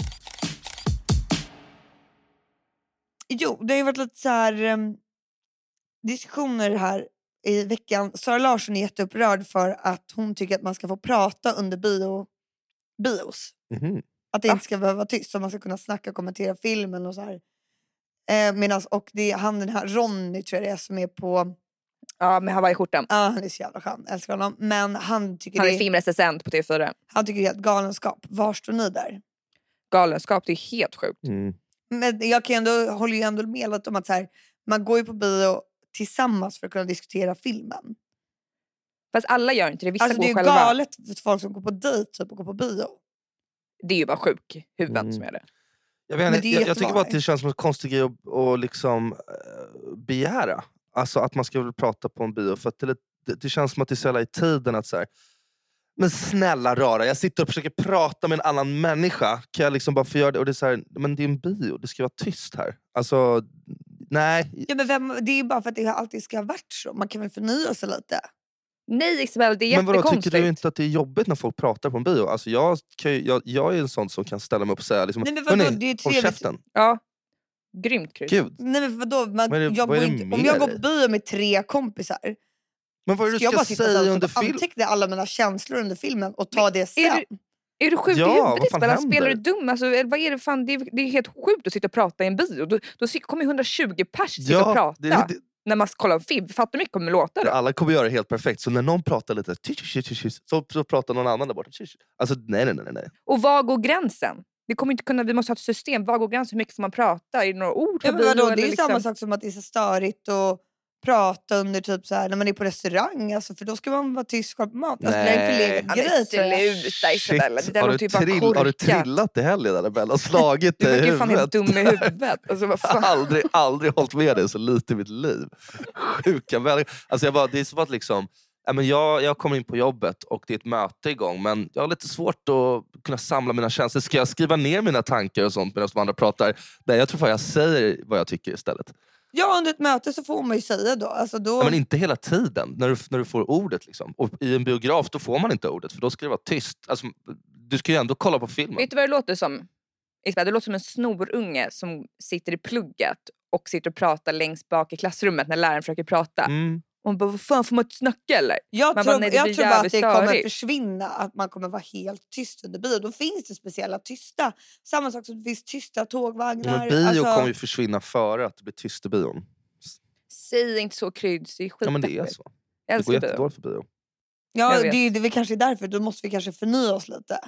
A: Jo, det har ju varit lite så här em, diskussioner här i veckan. Sara Larsson är jätteupprörd för att hon tycker att man ska få prata under bio, bios.
C: Mhm.
A: Att det
B: Va?
A: inte ska behöva vara tyst, så man ska kunna snacka och kommentera filmen. och så här. Eh, medans, och det är han den här Ronny tror jag det är som är på,
B: Ja, med hawaiiskjortan.
A: ah, han är så jävla skön, älskar honom. Men han tycker,
B: Han
A: det,
B: är
A: är-
B: filmrecensent på TV4.
A: han tycker det är helt galenskap. Var står ni där?
B: Galenskap, det är helt sjukt.
C: Mm.
A: Men jag kan ju ändå, håller ju ändå med lite om att så här, man går ju på bio tillsammans för att kunna diskutera filmen.
B: Fast alla gör inte det, vissa
A: Alltså, det är
B: går
A: ju
B: själva.
A: galet för folk som går på dejt typ, och går på bio.
B: Det är ju bara sjuk huvuden
C: Mm.
B: som gör det.
C: Jag, vet,
A: Men
C: inte,
A: det är
C: jag, jag tycker bara att
A: jättevanligt.
C: det känns som en konstig grej att, att liksom, eh, begära. Alltså att man ska väl prata på en bio. För att det, är lite- det, det känns som att det är så jävla i tiden att så här, men snälla rara, jag sitter och försöker prata med en annan människa. Kan jag liksom bara få göra det? Och det är så här, men det är en bio, det ska vara tyst här. Alltså, nej.
A: Ja, men vem, det är ju bara för att det alltid ska ha varit så. Man kan väl förnya sig lite.
B: Nej Isabel, det är
C: Men vadå, tycker
B: jättekonstigt.
C: du inte att det är jobbigt när folk pratar på en bio? Alltså jag, kan ju, jag, jag är en sån som kan ställa mig upp och säga liksom,
A: Nej, men vadå,
C: "Hörni,
A: det är ju
C: håll
A: trevligt."
C: käften.
B: Ja. Grymt Kryds.
C: Gud.
A: Nej men vadå? Man,
C: Vad är det-
A: jag
C: vad är
A: går
C: det
A: inte, om
C: med
A: jag går
C: dig?
A: på bio med tre kompisar,
C: Men vad är det
A: ska
C: du
A: jag
C: ska,
A: bara sitta så
C: säga
A: här och
C: under
A: typ
C: film?
A: anteckna alla mina känslor under filmen och ta det sen?
B: Är Är du sjuk
C: Ja,
B: i
C: vad
B: huvudet
C: fan
B: Isabella? Spelar du
C: händer?
B: dum? Alltså, eller vad är det, fan? Det, är, det är helt sjukt att sitta och prata i en bio. Då, då sit- kommer 120 pers sitta och
C: Ja,
B: prata
C: det, det,
B: när man kollar en film. Fattar du mycket kommer låta
C: Ja,
B: då?
C: Alla kommer göra det helt perfekt, så när någon pratar lite tsch, tsch, tsch, tsch, så, så pratar någon annan där borta. tsch, tsch. Alltså nej, nej, nej. nej, nej.
B: Och var går gränsen? Det kommer inte kunna, vi måste ha ett system. Var går gränsen? Hur mycket får man prata? Är det några ord?
A: ja, men
B: på bio
A: vadå? Det är
B: eller
A: ju
B: liksom-
A: samma sak som att det är så störigt att prata under typ så här, när man är på restaurang, alltså, för då ska man vara tyst och skapa mat. Alltså, det är en förlegad
B: men
A: grej tror jag.
B: Sluta Isabella, det
C: Shit,
B: där
C: har,
B: låter
C: du
B: ju bara
C: trill, har du
B: korkat.
C: trillat i helgen Annabella och slagit
B: Du
C: dig
B: verkar
C: i
B: ju fan helt
C: huvudet?
B: dum i huvudet. Alltså, vad
C: Jag har
B: fan?
C: aldrig, aldrig hållit med dig så lite i mitt liv. Sjuka människor. Alltså jag bara, det är som att liksom, ja, men jag, jag kommer in på jobbet och det är ett möte igång men jag har lite svårt att kunna samla mina känslor. Ska jag skriva ner mina tankar och sånt medan de andra pratar? Nej, jag tror fan jag säger vad jag tycker istället.
A: Ja, under ett möte så får man ju säga då. Alltså, då
C: Ja, men inte hela tiden, när du, när du får ordet. Liksom. Och I en biograf då får man inte ordet, för då ska det vara tyst. Alltså, du ska ju ändå kolla på filmen.
B: Vet du vad det låter som? Isabel, det låter som en snorunge som sitter i plugget och sitter och pratar längst bak i klassrummet när läraren försöker prata.
C: Mm.
B: Och man bara, vad fan får man inte snacka eller?
A: Jag
B: Man
A: tror,
B: bara, nej, det
A: jag
B: blir
A: tror bara att
B: jävligt
A: det kommer
B: störigt.
A: försvinna, att man kommer vara helt tyst under bio. Då finns det speciella tysta. Samma sak som det finns tysta tågvagnar.
C: Men bio
A: alltså,
C: kommer ju försvinna före att det blir tyst i bion.
B: Säg inte så Kryds, det är
C: Ja, men det är
B: skitdeppigt.
C: så.
B: Jag
C: Det går
B: älskar bio.
C: jättedåligt för bio.
A: ja,
B: jag
A: det,
B: vet.
A: är- det är väl kanske därför. Då måste vi kanske förnya oss lite.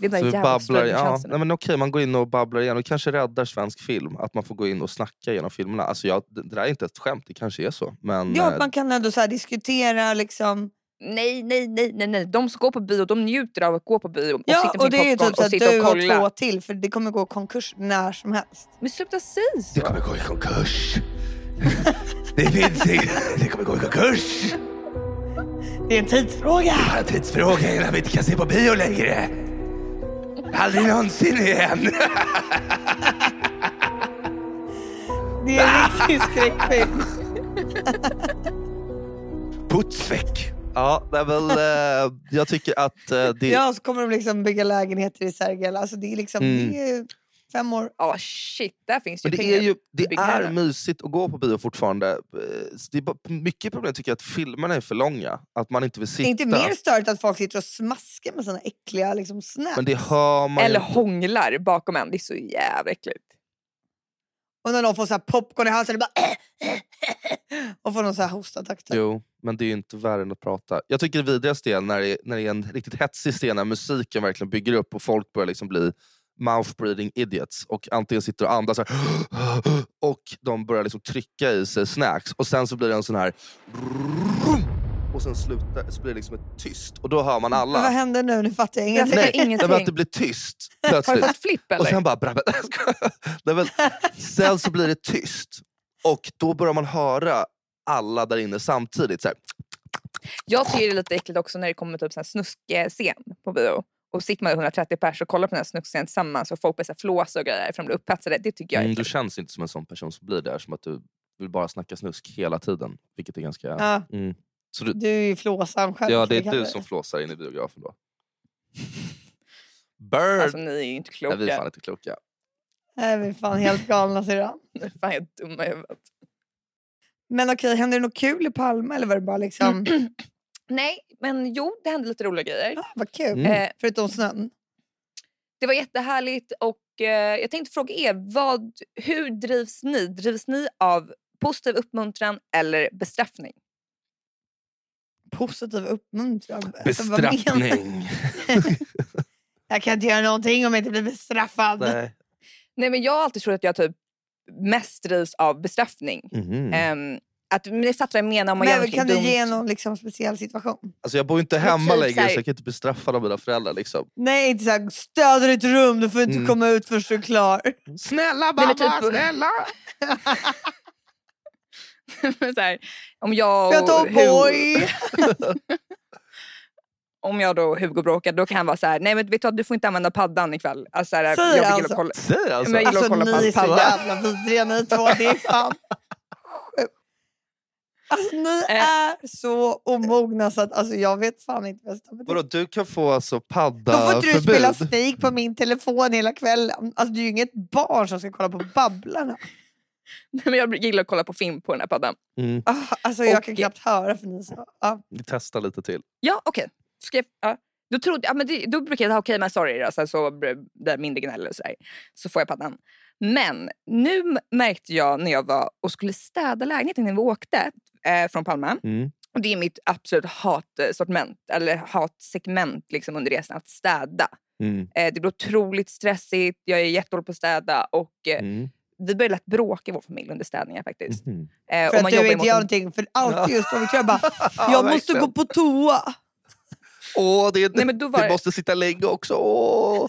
B: Det är
C: Så
B: den
C: vi
B: jävla
C: babblar, ja,
B: strömtjänsten.
C: nej men okej, man går in och babblar igen. Och kanske räddar svensk film att man får gå in och snacka genom filmerna. Alltså jag, det det där är inte ett skämt, det kanske är så. Men
A: Ja,
C: eh,
A: att man kan ändå så här diskutera. Liksom.
B: Nej, nej, nej, nej, nej. De som går på bio, de njuter av att gå på bio och
A: Ja,
B: sitta
A: och
B: med
A: det är ju
B: popcorn
A: typ så
B: och
A: att
B: sitta
A: du
B: och
A: och
B: kolla.
A: två till. För det kommer gå konkurs när som helst.
B: Men sluta säga
C: det
B: så.
C: kommer gå i konkurs. det finns inget. Det kommer gå i konkurs.
A: Det är en tidsfråga.
C: Det är en tidsfråga innan vi inte kan se på bio längre. Aldrig någonsin igen.
A: Det är
B: Ah!
A: en riktig skräckfilm.
C: Putsväck. Ja, nej, men, eh, jag tycker att eh, det...
A: Ja, så kommer de liksom bygga lägenheter i Sergel. Alltså, det är liksom
C: Mm.
A: det är ju fem år.
B: Ja, shit. Där finns ju
C: Men det
B: pengar.
C: är ju det
B: byggnader.
C: är mysigt att gå på bio fortfarande. Eh, så Det är bara, mycket problem tycker jag att filmerna är för långa. Att man inte vill sitta.
A: Det är inte mer störigt att folk sitter och smaskar med såna äckliga liksom, snäpp.
C: Men det hör man ju
B: Eller
C: inte.
B: hånglar bakom en. Det är så jävla äckligt.
A: Och när någon får så här popcorn i halsen, det bara... och får någon så här hostattack. typ.
C: Jo, men det är ju inte värre än att prata. Jag tycker det vidrigaste är när det är, när det är en riktigt hetsig scen när musiken verkligen bygger upp och folk börjar liksom bli mouth-breathing idiots och antingen sitter och andas så här, och de börjar liksom trycka i sig snacks och sen så blir det en sån här och sen slutar, så blir det liksom ett tyst och då hör man
A: Men vad
C: alla.
A: händer nu? Nu fattar jag
B: Alltså,
A: ingenting.
B: Jag fattar
C: Nej,
B: ingenting.
C: Därför att det blir tyst
B: Har du
C: plötsligt.
B: fått flipp eller?
C: Och sen bara... brabba- Jag skojar. Nej, men, sen så blir det tyst och då börjar man höra alla där inne samtidigt. Så här,
B: Jag tycker det är lite äckligt också när det kommer typ sån här snuskscen på bio. Och sitter man 130 pers och kollar på den här snuskscenen tillsammans och folk börjar så här flåsa och grejer för de blir upphetsade. Det tycker jag är
C: Mm, du
B: äckligt.
C: känns inte som en sån person som blir där, som att du vill bara snacka snusk hela tiden. Vilket är ganska... Ja.
A: Ja,
C: Mm. Så du,
A: du är ju flåsam själv.
C: ja,
A: kan
C: det
A: vi
C: är
A: kalla
C: du som flåsar in i biografen då. Bird!
B: Alltså ni är ju inte
C: Nej,
B: kloka.
C: vi är fan inte kloka.
A: Nej, vi är fan helt galna syrran.
B: Ni fan är dumma i huvudet.
A: Men okej, hände det något kul i Palma eller var det bara liksom...
C: Mm.
B: Nej, men jo, det hände lite roliga grejer.
A: Ah, vad kul.
C: Mm.
B: Eh,
A: Förutom snön.
B: det var jättehärligt och eh, jag tänkte fråga er, vad, hur drivs ni? Drivs ni av positiv uppmuntran eller bestraffning?
A: Positiv uppmuntran. Alltså, vad menar-
C: Bestraffning!
A: jag kan inte göra någonting om jag inte blir bestraffad.
C: Nej.
B: Nej, men jag har alltid trott att jag typ mest drivs av bestraffning.
C: Mhm.
B: Ehm, att, men det fattar jag menar om man gör
A: Men
B: någonting
A: kan du
B: dumt.
A: ge någon liksom, speciell situation?
C: Alltså, jag bor inte
B: Men
C: hemma
B: typ så
C: längre
B: här-
C: så jag kan inte bestraffa av mina föräldrar. Liksom.
A: Nej, inte såhär städa ditt rum, du får inte
C: Mm.
A: komma ut förrän du är klar.
B: Mm. Nej,
C: Snälla mamma,
B: men typ-
C: snälla!
B: Men så här, om jag,
A: Får jag ta
B: och Hugo,
A: O'boy?
B: om jag då och Hugo bråkar då kan han vara så här, nej men vet du, vad, du får inte använder paddan ikväll. Alltså, så här,
A: Säger
B: jag vill
A: han
B: gilla
A: så?
B: kolla.
C: Säg alltså.
B: Men jag- gillar att
A: Alltså
B: kolla på
A: ni är
B: hans
A: så
B: padda.
A: jävla vidriga ni två. Det är fan sjukt. Alltså ni
B: Eh.
A: är så omogna så att alltså, jag vet fan inte vad jag ska ta mig till.
C: Vadå, du kan få alltså
A: Då får
C: padda
A: inte du spela
C: förbud.
A: Snake på min telefon hela kvällen. Alltså du är ju inget barn som ska kolla på Babblarna.
B: Nej, men jag gillar att kolla på film på den här paddan.
C: Mm,
A: Ah, Alltså jag kan
B: Och- Eh,
A: knappt höra för ni är så. Ja.
C: vi testar lite till.
B: Ja, okej. Ska jag- Ja. Då, trodde, ja, men det, då brukar jag säga okej, men sorry. Alltså, så blir det mindre gnäll och sådär. Så får jag paddan. Men nu m- märkte jag när jag var och skulle städa lägenheten när vi åkte eh, från Palma.
C: Mm.
B: Och det är mitt absolut hatsortiment, eller hatsegment liksom, under resan, att städa.
C: Mm.
B: Eh, det blir otroligt stressigt, jag är jättedålig på att städa och eh,
C: Mm.
B: vi börjar lätt bråka i vår familj under städningar faktiskt.
C: Mhm.
B: Eh,
A: Mm. För
B: och
A: att
B: man
A: du
B: jobbar
A: inte gör
B: emot...
A: någonting. För alltid just då, jag bara,
C: Ja,
A: jag måste
C: verkligen.
A: gå på toa.
C: Åh, det,
B: Nej, men då var
C: det
B: det-
C: måste sitta länge också. Åh.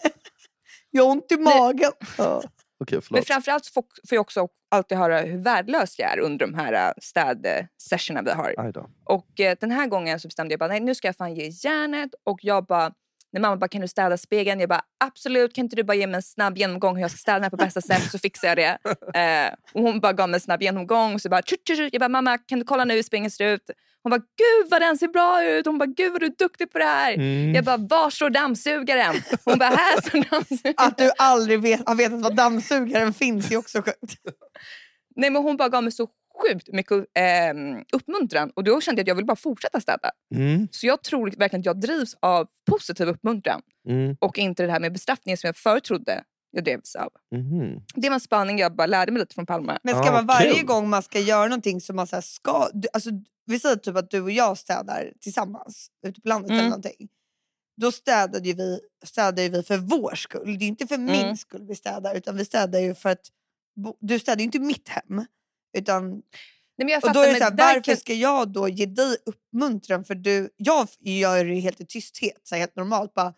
A: Jag har ont i magen.
C: Ja. Okej,
B: Men
C: förlåt.
B: framförallt så får får jag också alltid höra hur värdelös jag är under de här eh, städsessionerna vi har.
C: Aj då.
B: Och eh, den här gången så bestämde jag bara, nej nu ska jag fan ge järnet. Och jag bara, när mamma bara, kan du städa spegeln? Jag bara, absolut, kan inte du bara ge mig en snabb genomgång hur jag ska städa den här på bästa sätt så fixar jag det. Eh, och hon bara gav mig en snabb genomgång. Och så bara, tjut, tjut, tjut. Jag bara, mamma kan du kolla nu hur spegeln ser ut? Hon bara, gud vad den ser bra ut. Hon bara, gud vad du är duktig på det här.
C: Mm.
B: Jag bara, var står dammsugaren? Hon bara, här
A: Ah.
B: står dammsugaren.
A: Att du aldrig vet, har vetat vad dammsugaren finns är också sjukt.
B: Nej, men hon bara gav mig så sjukt mycket eh, uppmuntran och då kände jag att jag ville bara fortsätta städa.
C: Mm,
B: Så jag tror verkligen att jag drivs av positiv uppmuntran
C: mm,
B: och inte det här med bestraffningen som jag förut trodde jag drevs av.
C: mhm.
B: Det var en spaning jag bara lärde mig lite från Palme.
A: Men ska
C: Ja,
A: man varje
C: kul.
A: gång man ska göra någonting som man så här ska... Du, alltså, vi säger typ att du och jag städar tillsammans ute på landet eller
B: Mm.
A: någonting. Då städade ju vi, städade ju vi för vår skull. Det är inte för min
B: Mm.
A: skull vi städar utan vi städar ju för att... bo- Du städar ju inte mitt hem. Utan,
B: Nej, men jag
A: och då
B: fattar,
A: är det
B: men
A: så här,
B: där
A: varför
B: kan-
A: ska jag då ge dig uppmuntran? För du, jag f- gör det ju helt i tysthet, så här, helt normalt. Bara,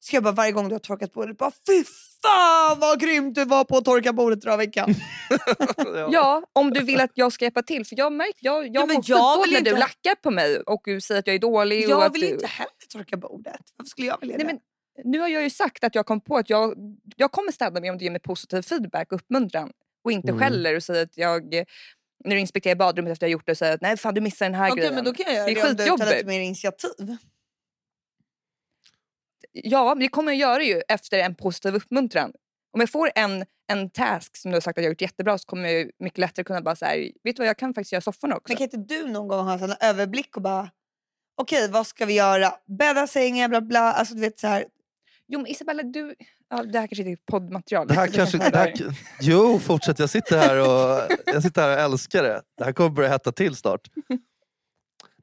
A: ska jag bara varje gång du har torkat bordet, bara fy fan vad grymt du var på att torka bordet den här veckan.
B: Ja, om du vill att jag ska hjälpa till. För jag märker, jag, jag
A: men jag
B: mår skitdåligt
A: vill
B: när du
A: inte-
B: lackar på mig och du säger att jag är dålig. och
A: Jag
B: att
A: vill
B: du...
A: ju inte heller torka bordet. Varför skulle jag vilja
B: Nej,
A: det?
B: men nu har jag ju sagt att jag kom på att jag, jag kommer städa mig om du ger mig positiv feedback och uppmuntran. Och inte
C: Mm.
B: skäller och säger att jag... När du inspekterar badrummet efter jag gjort det och säger att nej fan du missar den här
A: Okej,
B: grejen.
A: men då kan jag göra
B: Det är
A: det, om du tar lite
B: skitjobbigt.
A: mer initiativ.
B: Ja, men det kommer jag göra ju efter en positiv uppmuntran. Om jag får en, en task som du har sagt att jag har gjort jättebra så kommer jag ju mycket lättare kunna bara säga vet du vad jag kan faktiskt göra sofforna också.
A: Men kan inte du någon gång ha en sån här överblick och bara okej, vad ska vi göra? Bädda sängen, bla bla. Alltså du vet så här.
B: Jo men Isabella du, ja, det här kanske inte är poddmaterial.
C: Det här
B: så
C: kanske... Det här, k- jo, fortsätt. Jag sitter, här och, jag sitter här och älskar det. Det här kommer börja hetta till snart.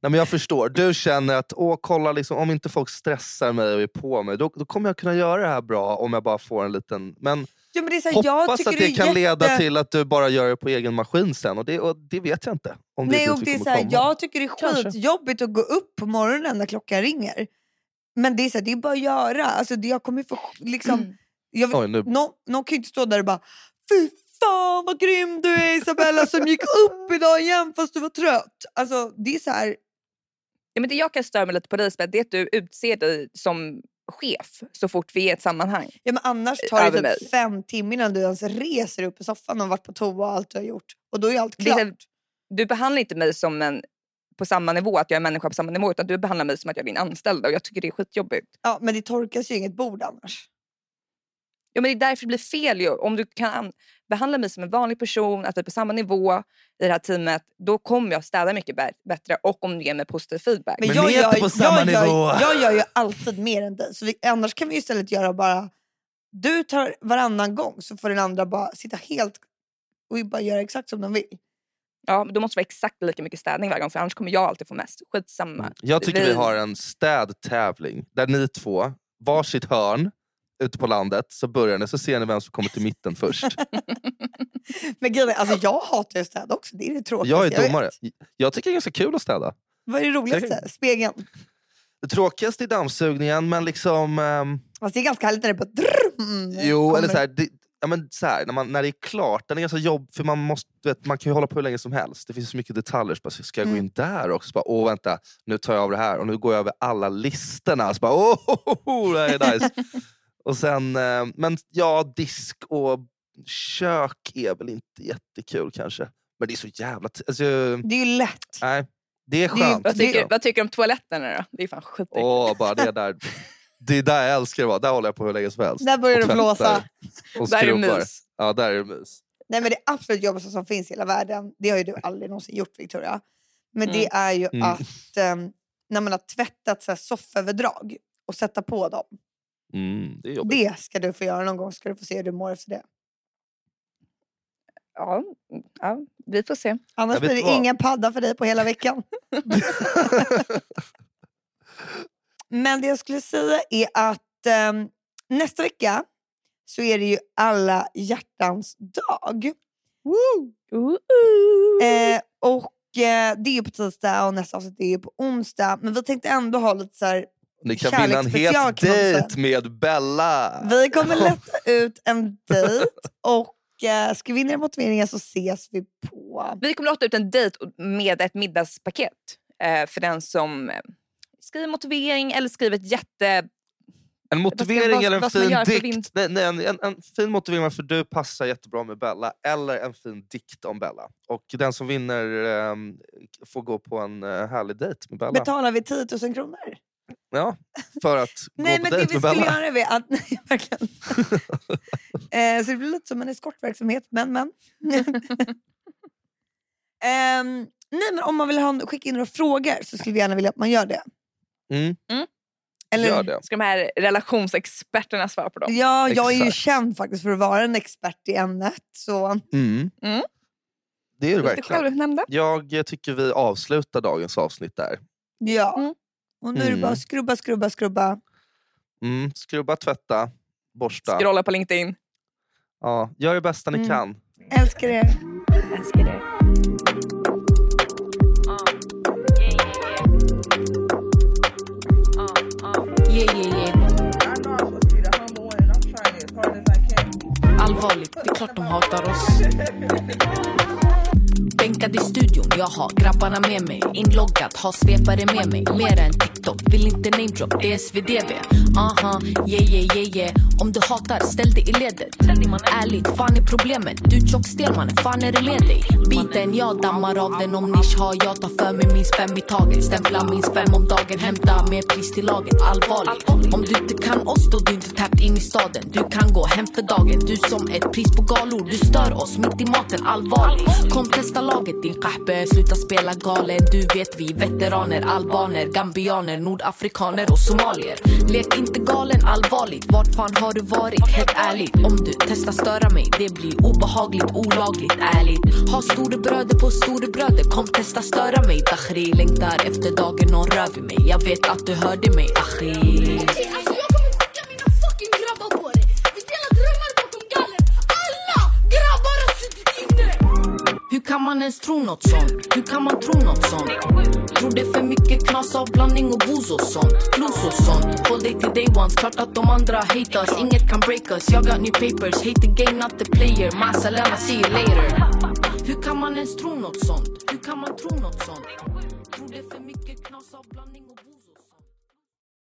C: Nej, men jag förstår. Du känner att åh, kolla, liksom, om inte folk stressar mig och är på mig, då, då kommer jag kunna göra det här bra om jag bara får en liten... Men
A: Ja, men det är så här jag
C: hoppas
A: tycker
C: att det
A: är
C: kan leda
A: jätte-
C: till att du bara gör det på egen maskin sen. Och det, och det vet jag inte. Om det
A: Nej,
C: är
A: och
C: dit vi
A: det är så
C: kommer
A: här,
C: komma.
A: jag tycker det är
B: Kanske.
A: skitjobbigt att gå upp på morgonen när klockan ringer. Men det är, så här, det är bara att göra. Alltså, det, jag kommer ju få,
B: Mm.
A: liksom, jag vill,
C: Oj, nu
A: någon, någon kan ju inte stå där och bara Fy fan vad grym du är Isabella som gick upp idag igen fast du var trött. Alltså, det är så här,
B: Ja, men det jag kan störa mig lite på dig Isabella, det är att du utser dig som chef så fort vi är i ett sammanhang.
A: Ja, men annars tar
B: Över
A: det
B: mig.
A: typ fem timmar innan du ens reser upp i soffan och varit på toa och allt du har gjort. Och då är allt
B: Det är
A: klart.
B: så här, du behandlar inte mig som en på samma nivå, att jag är människa på samma nivå, utan du behandlar mig som att jag är din anställda och jag tycker det är skitjobbigt.
A: Ja, men det torkas ju inget bord annars.
B: Ja, men det är därför det blir fel ju. Om du kan an- behandla mig som en vanlig person, att vi är på samma nivå i det här teamet, då kommer jag städa mycket bä- bättre och om du ger mig positiv feedback.
C: Men ni är inte på samma
A: jag, gör-
C: nivå.
A: Jag, gör ju alltid mer än dig. Så vi, annars kan vi istället göra bara... Du tar varannan gång så får den andra bara sitta helt och bara göra exakt som de vill.
B: Ja, men då måste det vara exakt lika mycket städning varje gång för annars kommer jag alltid få mest. Skitsamma.
C: Jag tycker vi
B: Vi-
C: har en städtävling där ni två, varsitt hörn ute på landet, så börjar ni så ser ni vem som kommer till mitten först.
A: Men grejen är, alltså jag hatar ju att städa också. Det är det tråkigaste
C: Jag är
A: vet.
C: domare. Jag tycker det är ganska kul att städa.
A: Vad är det roligaste? Spegeln.
C: Det tråkigaste är dammsugningen men liksom... ehm,
A: Fast det är ganska härligt när det bara... drrrm Eh,
C: jo, eller
A: kommer.
C: så här, det, ja, men så här, när, man, när det är klart, den är ganska jobb för man, måste, du vet, man kan ju hålla på hur länge som helst. Det finns så mycket detaljer. Så bara, ska jag gå in där också? Så bara, Åh vänta, nu tar jag av det här och nu går jag över alla listorna. Så bara, Åh, ho, ho, ho, det här är nice. och sen, eh, men ja, disk och kök är väl inte jättekul kanske. Men det är så jävla... T- alltså,
A: Det är ju lätt.
C: nej, det är
A: Det är ju-
C: skönt.
B: Vad
A: Det-
B: tycker, vad tycker du om toaletterna då? Det är fan skitäckligt.
C: Åh, bara det där. Det är där jag älskar att vara. Där håller jag på hur länge som helst.
A: Där börjar
C: Och
A: det blåsa.
C: tvättar Och
B: Där är
C: skrubbar.
B: mus.
C: Ja, där är det mus.
A: Nej men det absolut jobbigaste som finns i hela världen, det har ju du aldrig någonsin gjort Victoria. Men det är ju
C: Mm.
A: att ehm, när man har tvättat så här sofföverdrag och sätta på dem.
C: Mm, det är jobbigt.
A: Det ska du få göra någon gång, ska du få se hur du mår efter det.
B: Ja, mm, ja, vi får se.
A: Annars
C: Jag vet
A: blir det
C: vad.
A: ingen padda för dig på hela veckan. men det jag skulle säga är att ehm, nästa vecka så är det ju alla hjärtans dag.
C: Mm.
A: Eh, och eh, det är ju på tisdag och nästa avsnitt är ju på onsdag. Men vi tänkte ändå ha lite så här.
C: Ni kan vinna en
A: Kärleksspecial
C: het
A: kan man säga.
C: dejt med Bella.
A: Vi kommer lätta ut en dejt och eh, skriv in era motiveringar så ses vi på.
B: Vi kommer låta ut en dejt med ett middagspaket eh, för den som eh, skriver motivering eller skriver ett jätte...
C: En motivering
B: vad-
C: eller en
B: vad ska man
C: fin
B: göra för
C: dikt.
B: vinst?
C: Nej, nej, en, en, en fin motivering varför du passar jättebra med Bella. Eller en fin dikt om Bella. Och den som vinner ehm, får gå på en eh, härlig dejt med Bella.
A: Betalar vi 10 000 kronor?
C: ja, för att
A: Nej
C: gå
A: men
C: på
A: det
C: dejt
A: vi
C: med
A: skulle
C: Bella.
A: göra är att... Nej, verkligen. eh, så det blir lite som en eskortverksamhet men men. Ehm, nej, men om man vill ha, en- skicka in några frågor så skulle vi gärna vilja att man gör det.
C: Mm,
A: Eller,
C: gör det.
B: Ska de här relationsexperterna svara på dem?
A: Ja, jag är ju
C: Exakt.
A: känd faktiskt för att vara en expert i ämnet. Så
C: Mm.
B: Mm.
C: Det är du
B: Just det
C: verkligen.
B: självutnämnda.
C: Jag eh, tycker vi avslutar dagens avsnitt där.
A: ja.
B: Mm.
A: Och nu är det bara
C: Mm.
A: att skrubba, skrubba, skrubba.
C: Mm. Skrubba, tvätta, borsta.
B: Scrolla på LinkedIn.
C: Ja, gör det bästa ni
A: Mm.
C: kan.
A: Älskar er.
B: Älskar det.
D: Yeah, yeah, yeah.
E: I know I'm supposed to be the humble one, and I'm trying as hard as I can.
D: Allvarligt, det är klart de hatar oss. Bänkad i studion, jag har grabbarna med mig. Inloggat, har svepare med mig. Mer än TikTok, vill inte namedrop, det är SvDV. Aha, yeah yeah yeah yeah. Om du hatar, ställ dig i ledet. Ärligt, fan är problemet? Du är tjock stel mannen, fan är det med dig? Biten, jag dammar av den om nisch har. Jag tar för mig minst fem i taget. Stämpla minst fem om dagen, hämta mer pris till laget. Allvarligt, om du inte kan oss då du inte tappt in i staden. Du kan gå hem för dagen, du som ett pris på galor. Du stör oss mitt i maten, allvarligt. Kom testa laget din kahpe, sluta spela galen. Du vet vi veteraner, albaner, gambianer, nordafrikaner och somalier. Lek inte galen, allvarligt. Vart fan har du varit? Helt ärligt, om du testar störa mig, det blir obehagligt, olagligt, ärligt. Ha storebröder på storebröder, kom testa störa mig. Dakhri längtar efter dagen någon rör vid mig. Jag vet att du hörde mig, achi.
F: Okej, alltså jag kommer skicka mina fucking grabbar på det. Vi delar drömmar bakom galler. Alla grabbar har suttit inne.
D: Hur kan man ens tro något sånt? Hur kan man tro något sånt? Tror det är för mycket knas av blandning och booze och sånt? Blues och sånt? Håll dig till day ones, klart att de andra hatas Inget kan break us, jag got new papers Hate the game, not the player Masalama, see you later Hur kan man ens tro något sånt? Hur kan man tro något sånt? Tror det är för mycket knas av blandning och